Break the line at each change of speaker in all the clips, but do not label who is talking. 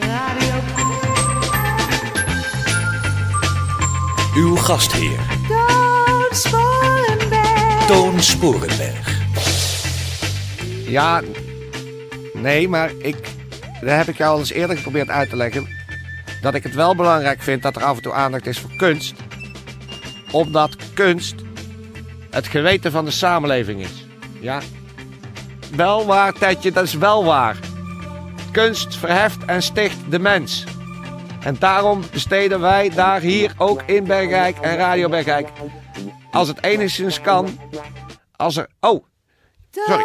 Radio
Uw gastheer
Toon Sporenberg.
Toon Sporenberg.
Ja, nee, maar ik. Daar heb ik jou al eens eerder geprobeerd uit te leggen. Dat ik het wel belangrijk vind dat er af en toe aandacht is voor kunst. Omdat kunst het geweten van de samenleving is. Ja. Wel waar, Tetje, dat is wel waar. Kunst verheft en sticht de mens. En daarom besteden wij daar hier ook in Bergrijk en Radio Bergrijk. Als het enigszins kan. Als er. Oh, sorry.
Toon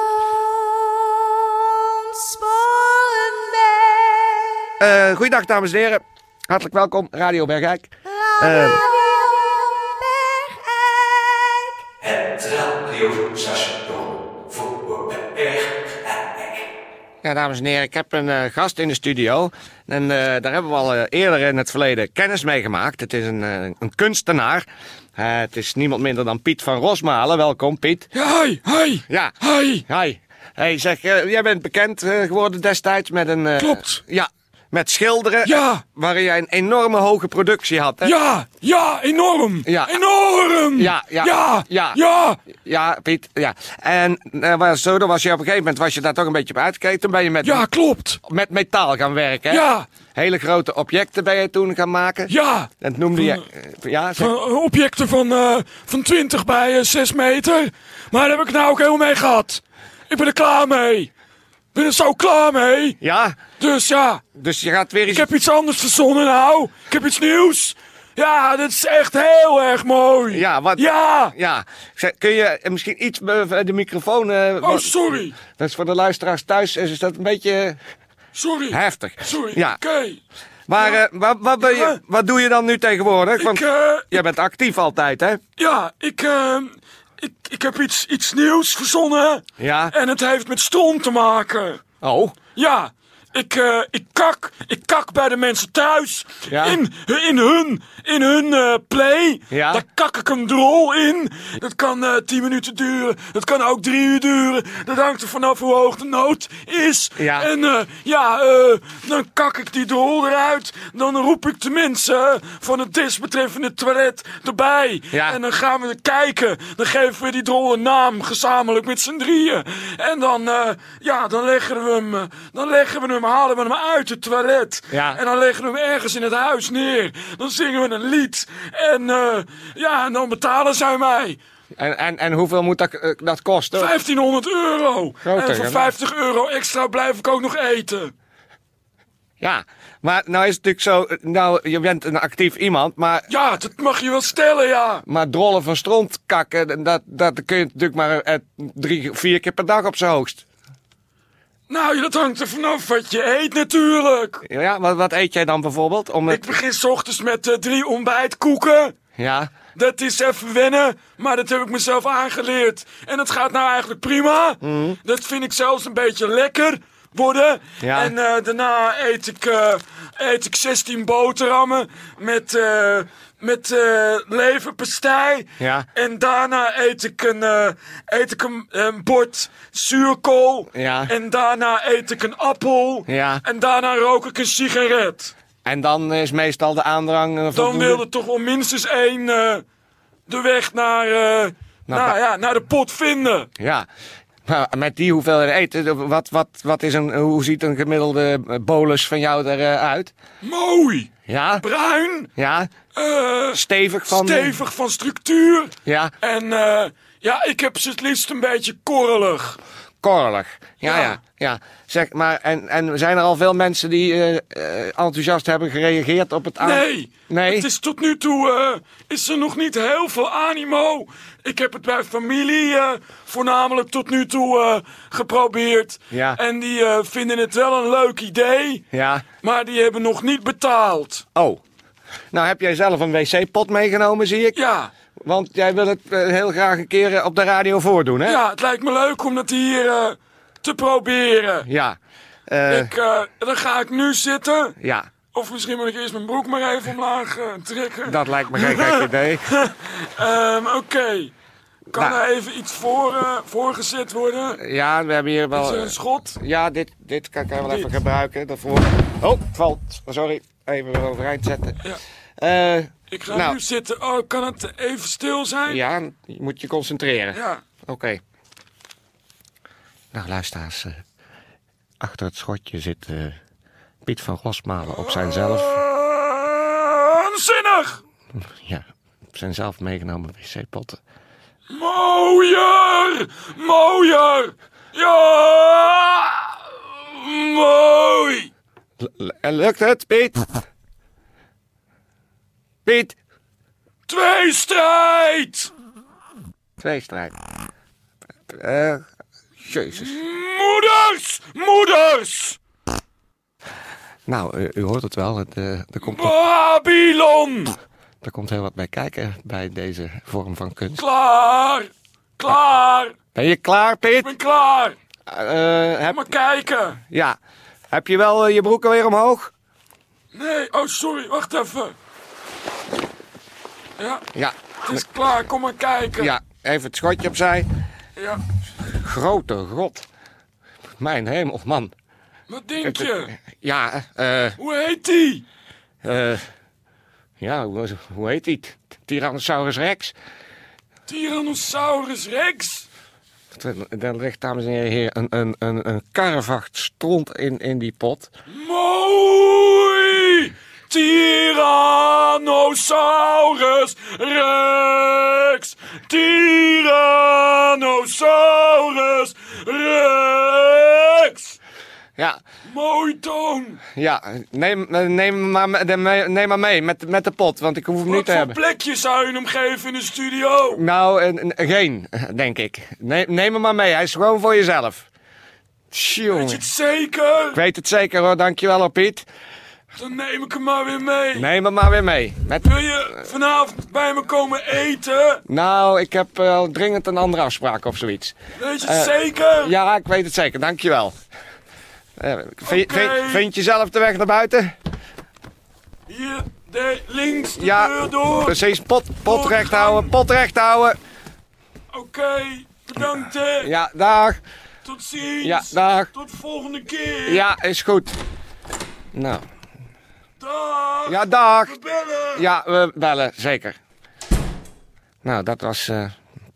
Sporenberg.
Eh goeiedag, dames en heren. Hartelijk welkom, Radio Bergijk.
Radio Bergijk.
Ja, dames en heren, ik heb een eh, gast in de studio. En eh, daar hebben we al eh, eerder in het verleden kennis mee gemaakt. Het is een, eh, een kunstenaar. Eh, het is niemand minder dan Piet van Rosmalen. Welkom, Piet.
Ja, hoi, hoi.
Ja.
Hoi.
Hi. Hey, zeg, eh, jij bent bekend eh, geworden destijds met een... eh,
Klopt.
Ja, met schilderen.
Ja.
Waarin jij een enorme hoge productie had, hè?
Ja, ja, enorm.
Ja.
Enorm.
Ja, ja,
Ja,
ja.
ja.
Ja, Piet, ja. En eh, maar zo, dan was je op een gegeven moment was je daar toch een beetje op uitgekeken. Toen ben je met
Ja, klopt.
met metaal gaan werken. Hè?
Ja.
Hele grote objecten ben je toen gaan maken.
Ja.
Dat noemde je. Ja, zeg-
Van, eh, objecten van, eh, van 20 bij eh, 6 meter. Maar daar heb ik nou ook heel mee gehad. Ik ben er klaar mee. Ik ben er zo klaar mee.
ja,
Dus ja,
dus je gaat weer
ik
iets.
heb iets anders verzonnen nou. Ik heb iets nieuws. Ja, dat is echt heel erg mooi.
Ja, wat-
Ja.
Ja, Zeg, kun je eh, misschien iets be- de microfoon. eh,
Oh,
wat-
sorry.
dat is voor de luisteraars thuis, eh, is is dat een beetje
Sorry.
heftig.
Sorry.
Ja,
Oké.
maar eh, wat, wat, ben je, wat doe je dan nu tegenwoordig? Want
Ik, eh,
jij bent actief altijd, hè?
Ja, ik, ehm, ik, ik heb iets, iets nieuws verzonnen.
Ja.
En het heeft met stront te maken.
Oh,
Ja, ik, eh, ik kak. Ik kak bij de mensen thuis.
Ja.
In, in hun, in hun eh, play.
Ja.
Daar kak ik een drol in. Dat kan eh, 10 minuten duren. Dat kan ook drie uur duren. Dat hangt er vanaf hoe hoog de nood is.
Ja.
En eh, ja, eh, dan kak ik die drol eruit. Dan roep ik de mensen eh, van het desbetreffende toilet erbij.
Ja.
En dan gaan we kijken. Dan geven we die drol een naam, gezamenlijk met z'n drieën. En dan, eh, ja, dan leggen we hem, eh, dan leggen we hem, halen we hem uit het toilet.
Ja.
En dan leggen we hem ergens in het huis neer. Dan zingen we een lied. En, eh, ja, en dan betalen zij mij.
en, en, en hoeveel moet dat, eh, dat kosten?
1500 euro.
Groter,
en voor
ja.
50 euro extra blijf ik ook nog eten.
Ja, maar nou is het natuurlijk zo. eh, Nou, je bent een actief iemand, maar
Ja, dat mag je wel stellen, ja.
Maar drollen van stront kakken, dat, dat kun je natuurlijk maar eh, drie, vier keer per dag op zijn hoogst.
Nou, dat hangt er vanaf wat je eet natuurlijk.
Ja, wat, wat eet jij dan bijvoorbeeld? Om het,
Ik begin 's ochtends met eh, drie ontbijtkoeken.
Ja,
Dat is even wennen, maar dat heb ik mezelf aangeleerd. En dat gaat nou eigenlijk prima.
Mhm.
Dat vind ik zelfs een beetje lekker worden.
Ja.
En eh, daarna eet ik, eh, eet ik 16 boterhammen met, eh met eh, leverpastei.
Ja.
En daarna eet ik een, eh, eet ik een, een bord zuurkool.
Ja.
En daarna eet ik een appel.
Ja.
En daarna rook ik een sigaret.
en dan is meestal de aandrang eh,
Dan
voldoende.
wilde toch wel minstens één eh, de weg naar, eh, nou,
ba-
ja, naar de pot vinden.
Ja, maar met die hoeveelheid eten, eh, wat, wat, wat is een, hoe ziet een gemiddelde eh, bolus van jou eruit?
Mooi,
Ja,
bruin,
ja,
eh,
stevig van...
stevig van structuur.
Ja,
En eh, ja, ik heb ze het liefst een beetje korrelig.
korrelig. Ja, ja,
Ja.
ja. Zeg maar, en, en zijn er al veel mensen die eh, eh, enthousiast hebben gereageerd op het aan...
Nee,
Ah, Nee?
het is tot nu toe eh, is er nog niet heel veel animo. Ik heb het bij familie eh, voornamelijk tot nu toe eh, geprobeerd.
Ja.
En die eh, vinden het wel een leuk idee,
Ja,
maar die hebben nog niet betaald.
oh. Nou heb jij zelf een wc-pot meegenomen, zie ik.
Ja,
Want jij wil het eh, heel graag een keer eh, op de radio voordoen, hè?
ja, het lijkt me leuk om dat hier eh, te proberen.
Ja. Eh,
Ik, eh, dan ga ik nu zitten.
ja.
Of misschien moet ik eerst mijn broek maar even omlaag eh, trekken.
Dat lijkt me geen gek idee.
Ehm, Oké. Kan
Nou.
er even iets voor, eh, voorgezet worden?
Ja, we hebben hier
Is
wel... eh,
er een schot?
Ja, dit, dit kan ik wel even
Dit.
gebruiken. Dat voor... Oh, het valt. Sorry. Even weer overeind zetten.
Ja.
Ja.
Ik ga
Nou.
nu zitten. Oh, kan het even stil zijn?
ja, je moet je concentreren.
Ja.
Oké. Nou, luisteraars. eh, achter het schotje zit eh, Piet van Rosmalen op zijn zelf...
Waanzinnig!
Ja, op zijn zelf meegenomen wc-potten.
Mooier! Mooier! Ja! Mooi!
En lukt het, Piet? Piet!
Twee strijd!
Tweestrijd. Eh, jezus.
Moeders! Moeders!
Nou, u, u hoort het wel. Het, eh, er, komt,
Babylon!
er komt heel wat bij kijken bij deze vorm van kunst.
Klaar! Klaar!
Ben je klaar,
Ik
Piet?
ben klaar!
Eh, heb,
Maar kijken!
ja. Heb je wel eh, je broeken weer omhoog?
Nee, oh sorry, wacht even. Ja,
Ja.
het is klaar, kom maar kijken.
Ja, even het schotje opzij.
Ja,
Grote god. Mijn hemel, man.
Wat denk je?
Ja, eh...
Hoe heet die?
Eh, ja, hoe, hoe heet die? Tyrannosaurus Rex.
Tyrannosaurus Rex?
Daar ligt, dames en heren, hier een, een, een, een karrevacht stront in, in die pot.
Mooi! Tyrannosaurus Rex! Tyrannosaurus Rex!
Ja,
Mooi toon!
ja neem, neem, maar, me- de- me- neem maar mee met, met de pot, want ik hoef hem niet
Wat
te
voor
hebben.
plekje zou je hem geven in de studio?
Nou, een- een- geen, denk ik. Neem, neem hem maar mee, hij is gewoon voor jezelf.
Weet je
Tjonge.
het zeker?
Ik weet het zeker hoor, dankjewel hoor, Piet.
Dan neem ik hem maar weer mee.
Neem hem maar weer mee. Met...
Wil je vanavond bij me komen eten?
Nou, ik heb eh, dringend een andere afspraak of zoiets.
Weet je het zeker?
Eh, Ja, ik weet het zeker. Dankjewel. Eh, vind,
Oké.
vind, vind je zelf de weg naar buiten?
Hier, de, links, de
Ja,
deur door.
Precies, pot, pot recht
Doorgaan.
houden, pot recht houden.
Oké, bedankt hè.
Ja, dag.
Tot ziens.
Ja, dag.
Tot volgende keer.
Ja, is goed. Nou,
Dag.
ja, dag.
We bellen.
Ja, we bellen, zeker. Nou, dat was eh,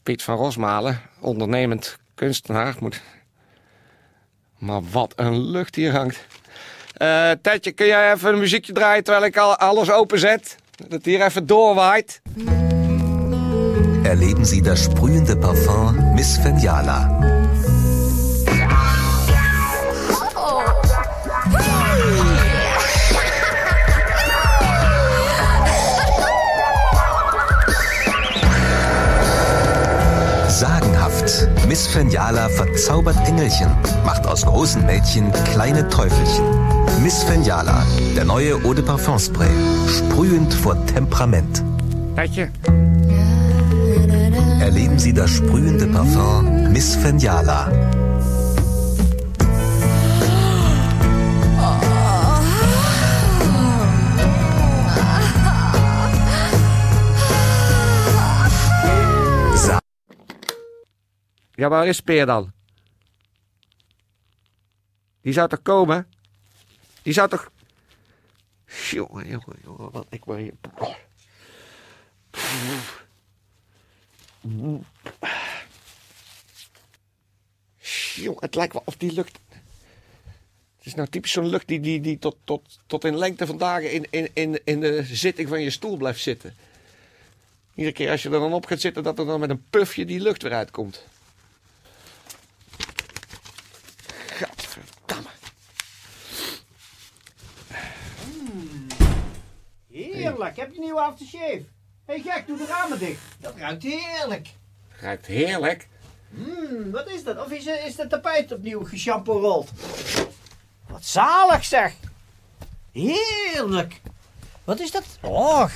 Piet van Rosmalen, ondernemend kunstenaar. Moet... Maar wat een lucht hier hangt. Eh Tetje, kun jij even een muziekje draaien terwijl ik al alles openzet? Dat het hier even doorwaait.
Erleben Sie das sprühende Parfum Miss Feniala. Sagenhaft. Miss Feniala verzaubert Engelchen, macht aus großen Mädchen kleine Teufelchen. Miss Feniala, der neue Eau de Parfum Spray. Sprühend vor Temperament.
Tetje,
Erleben Sie das sprühende Parfum Miss Feniala.
ja, waar is Peer dan? Die zou toch komen? Die zou toch... Jongen, jongen, jongen, wat ik maar hier... Jongen, het lijkt wel of die lucht... Het is nou typisch zo'n lucht die, die, die tot, tot, tot in lengte van dagen in, in, in, in de zitting van je stoel blijft zitten. Iedere keer als je er dan op gaat zitten, dat er dan met een pufje die lucht weer uitkomt. Gadverdamme.
Heerlijk, heb je nieuwe aftershave? Hé hey gek, doe de ramen dicht. Dat ruikt heerlijk.
Ruikt heerlijk.
Hmm, wat is dat? Of is, is de tapijt opnieuw geshampoorold? Wat zalig zeg. Heerlijk. Wat is dat? Oh. Och.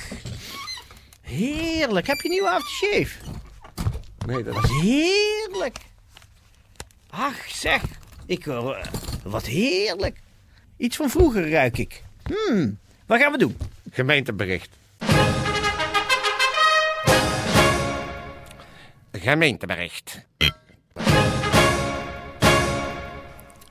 Heerlijk. Heb je nieuwe aftershave?
Nee, dat is...
Heerlijk. Ach, zeg. Ik hoor... eh, Wat heerlijk. Iets van vroeger ruik ik. Hmm. Wat gaan we doen?
Gemeentebericht. Gemeentebericht.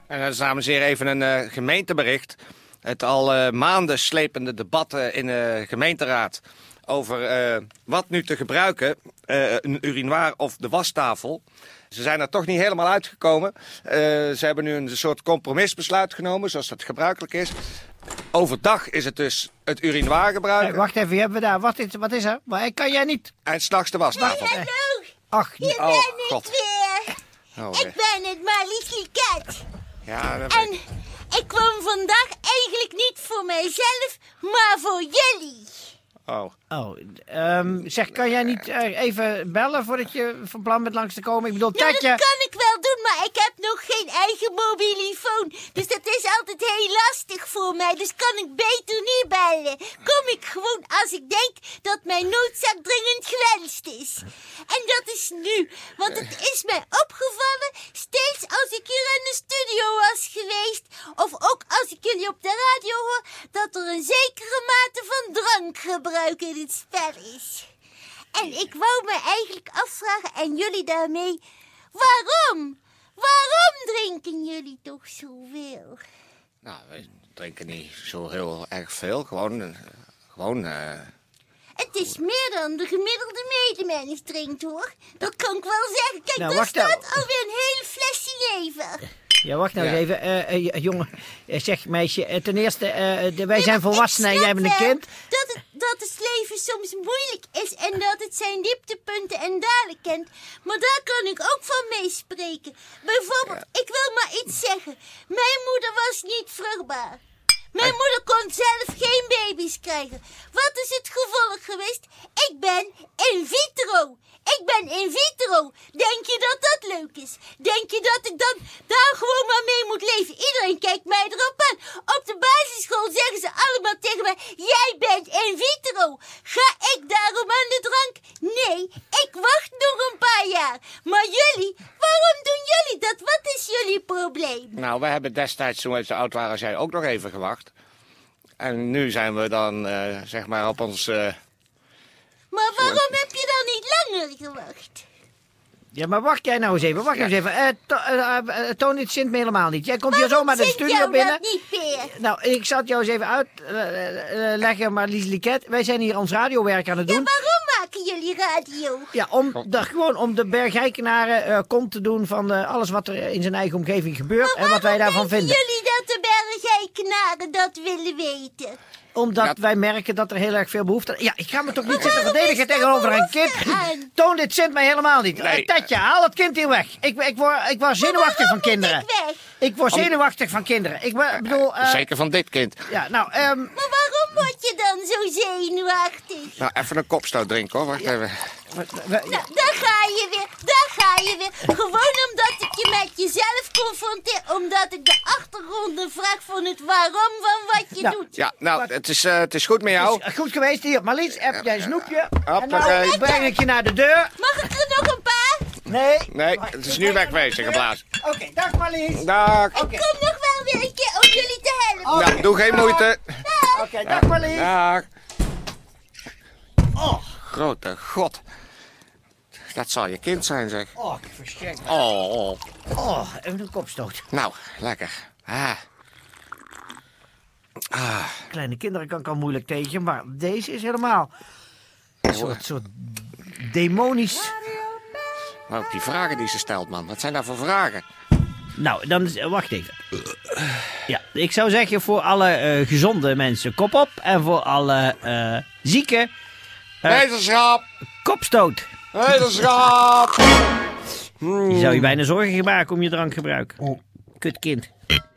En dat is dames en heren even een eh, gemeentebericht. Het al eh, maanden slepende debat eh, in de gemeenteraad over eh, wat nu te gebruiken, eh, een urinoir of de wastafel. Ze zijn er toch niet helemaal uitgekomen. Eh, ze hebben nu een soort compromisbesluit genomen, zoals dat gebruikelijk is. Overdag is het dus het urinoir gebruiken
Eh, wacht even, hebben we daar? Wat is, wat is er? Maar kan jij niet?
en s'nachts de wastafel.
Hallo,
Ach,
hier
Oh,
ben ik
God.
weer.
Oh,
Ik ben het Maliki Cat.
ja, dat
En
weet ik.
ik kwam vandaag eigenlijk niet voor mijzelf, maar voor jullie.
Oh.
Oh, ehm, zeg, kan jij niet eh, even bellen voordat je van plan bent langs te komen? Ik bedoel,
Nou, dat
Tatje...
kan ik wel doen, maar ik heb nog geen eigen mobielefoon. Dus dat is altijd heel lastig voor mij. Dus kan ik beter niet bellen. Kom ik gewoon als ik denk dat mijn noodzaak dringend gewenst is. En dat is nu. Want het is mij opgevallen steeds als ik hier in de studio was geweest. Of ook als ik jullie op de radio hoor. Dat er een zekere mate van drankgebruik in het spel is. En ik wou me eigenlijk afvragen, en jullie daarmee, waarom? Waarom drinken jullie toch zoveel?
Nou, we drinken niet zo heel erg veel. Gewoon, eh, gewoon eh,
Het is meer dan de gemiddelde medemens drinkt, hoor. Dat kan ik wel zeggen. Kijk,
Nou,
daar
wacht even.
staat alweer een hele flesje jever.
Ja, wacht nou
Ja.
eens even. eh, eh, j- jongen, Eh, zeg meisje, eh, ten eerste, eh, de- wij zijn
Ik
volwassenen en jij
snap
bent een
wel
kind.
Dat het, dat het leven soms moeilijk is en dat het zijn dieptepunten en dalen kent. Maar daar kan ik ook van meespreken. Bijvoorbeeld, ik wil maar iets zeggen. Mijn moeder was niet vruchtbaar. Mijn moeder kon zelf geen baby's krijgen. Wat is het gevolg geweest? Ik ben in vitro. Ik ben in vitro. Denk je dat dat leuk is? Denk je dat ik dan daar gewoon maar mee moet leven? Iedereen kijkt mij erop aan. Op de basisschool zeggen ze allemaal tegen mij: Jij bent in vitro. Ga ik daarom aan de drank? Nee, ik wacht nog een paar jaar. Maar jullie, waarom doen jullie dat? Wat is jullie probleem?
Nou, we hebben destijds, toen we zo oud waren, zijn ook nog even gewacht. En nu zijn we dan, eh, zeg maar, op ons... eh,
Maar waarom heb je dan niet langer gewacht?
Ja, maar wacht jij nou eens even. Wacht eens even. Eh, to, eh, eh, Toon, dit zint me helemaal niet. Jij komt hier
Waarom
zomaar de
zit
studio
jou
binnen.
Dat niet meer.
Nou, ik zal het jou eens even eh, uitleggen, maar Lies Liket, wij zijn hier ons radiowerk aan het
Ja,
doen.
waarom maken jullie radio?
Ja, om de, gewoon om de Bergijkenaren eh kont te doen van eh, alles wat er in zijn eigen omgeving gebeurt en wat wij daarvan
denken
vinden.
jullie dat de bergijkenaren dat willen weten?
Omdat
Ja.
wij merken dat er heel erg veel behoefte aan... Ja, ik ga me toch niet
Maar
zitten
waarom
verdedigen
is daar
tegenover een kind.
behoefte aan?
Toon, dit zint mij helemaal niet.
Nee.
Eh, Tatje, haal het kind hier weg. Ik, ik, word, ik word zenuwachtig van
waarom moet
kinderen.
ik weg?
Ik word zenuwachtig van kinderen. Ik be- bedoel... eh,
Zeker van dit kind.
Ja, nou, ehm,
Maar waarom word je dan zo zenuwachtig?
Nou, even een kopstoot drinken, hoor. Wacht even.
we- we-
Nou, daar ga je weer, daar ga je weer. Gewoon omdat ik je met jezelf confronteer, omdat ik de achtergronden vraag van het waarom van wat je
Nou,
doet.
Ja, nou, het is, eh, het is goed met jou.
Is goed geweest hier. Marlies, heb jij een snoepje? En
Hoppakee.
nou breng ik je naar de deur.
Mag ik er nog een paar?
Nee.
Nee, het is nu wegwezen, geblazen.
Oké, dag Marlies. Oké,
Dag.
Ik kom nog wel weer een keer om jullie te helpen.
Nou, doe geen moeite.
Oh. dag Marlies.
Dag. Oh, grote god. Dat zal je kind zijn, zeg.
Oh, verschrikkelijk.
Oh.
Oh, even een kopstoot.
Nou, lekker. Ah.
Kleine kinderen kan ik al moeilijk tegen, maar deze is helemaal... Een soort, soort demonisch...
Maar ook nou, die vragen die ze stelt, man. Wat zijn daar voor vragen?
Nou, dan is- wacht even. Ja, ik zou zeggen voor alle eh, gezonde mensen kop op. En voor alle eh, zieken
Wetenschap!
kopstoot.
Wetenschap!
Je zou je bijna zorgen maken om je drankgebruik. Kut kind.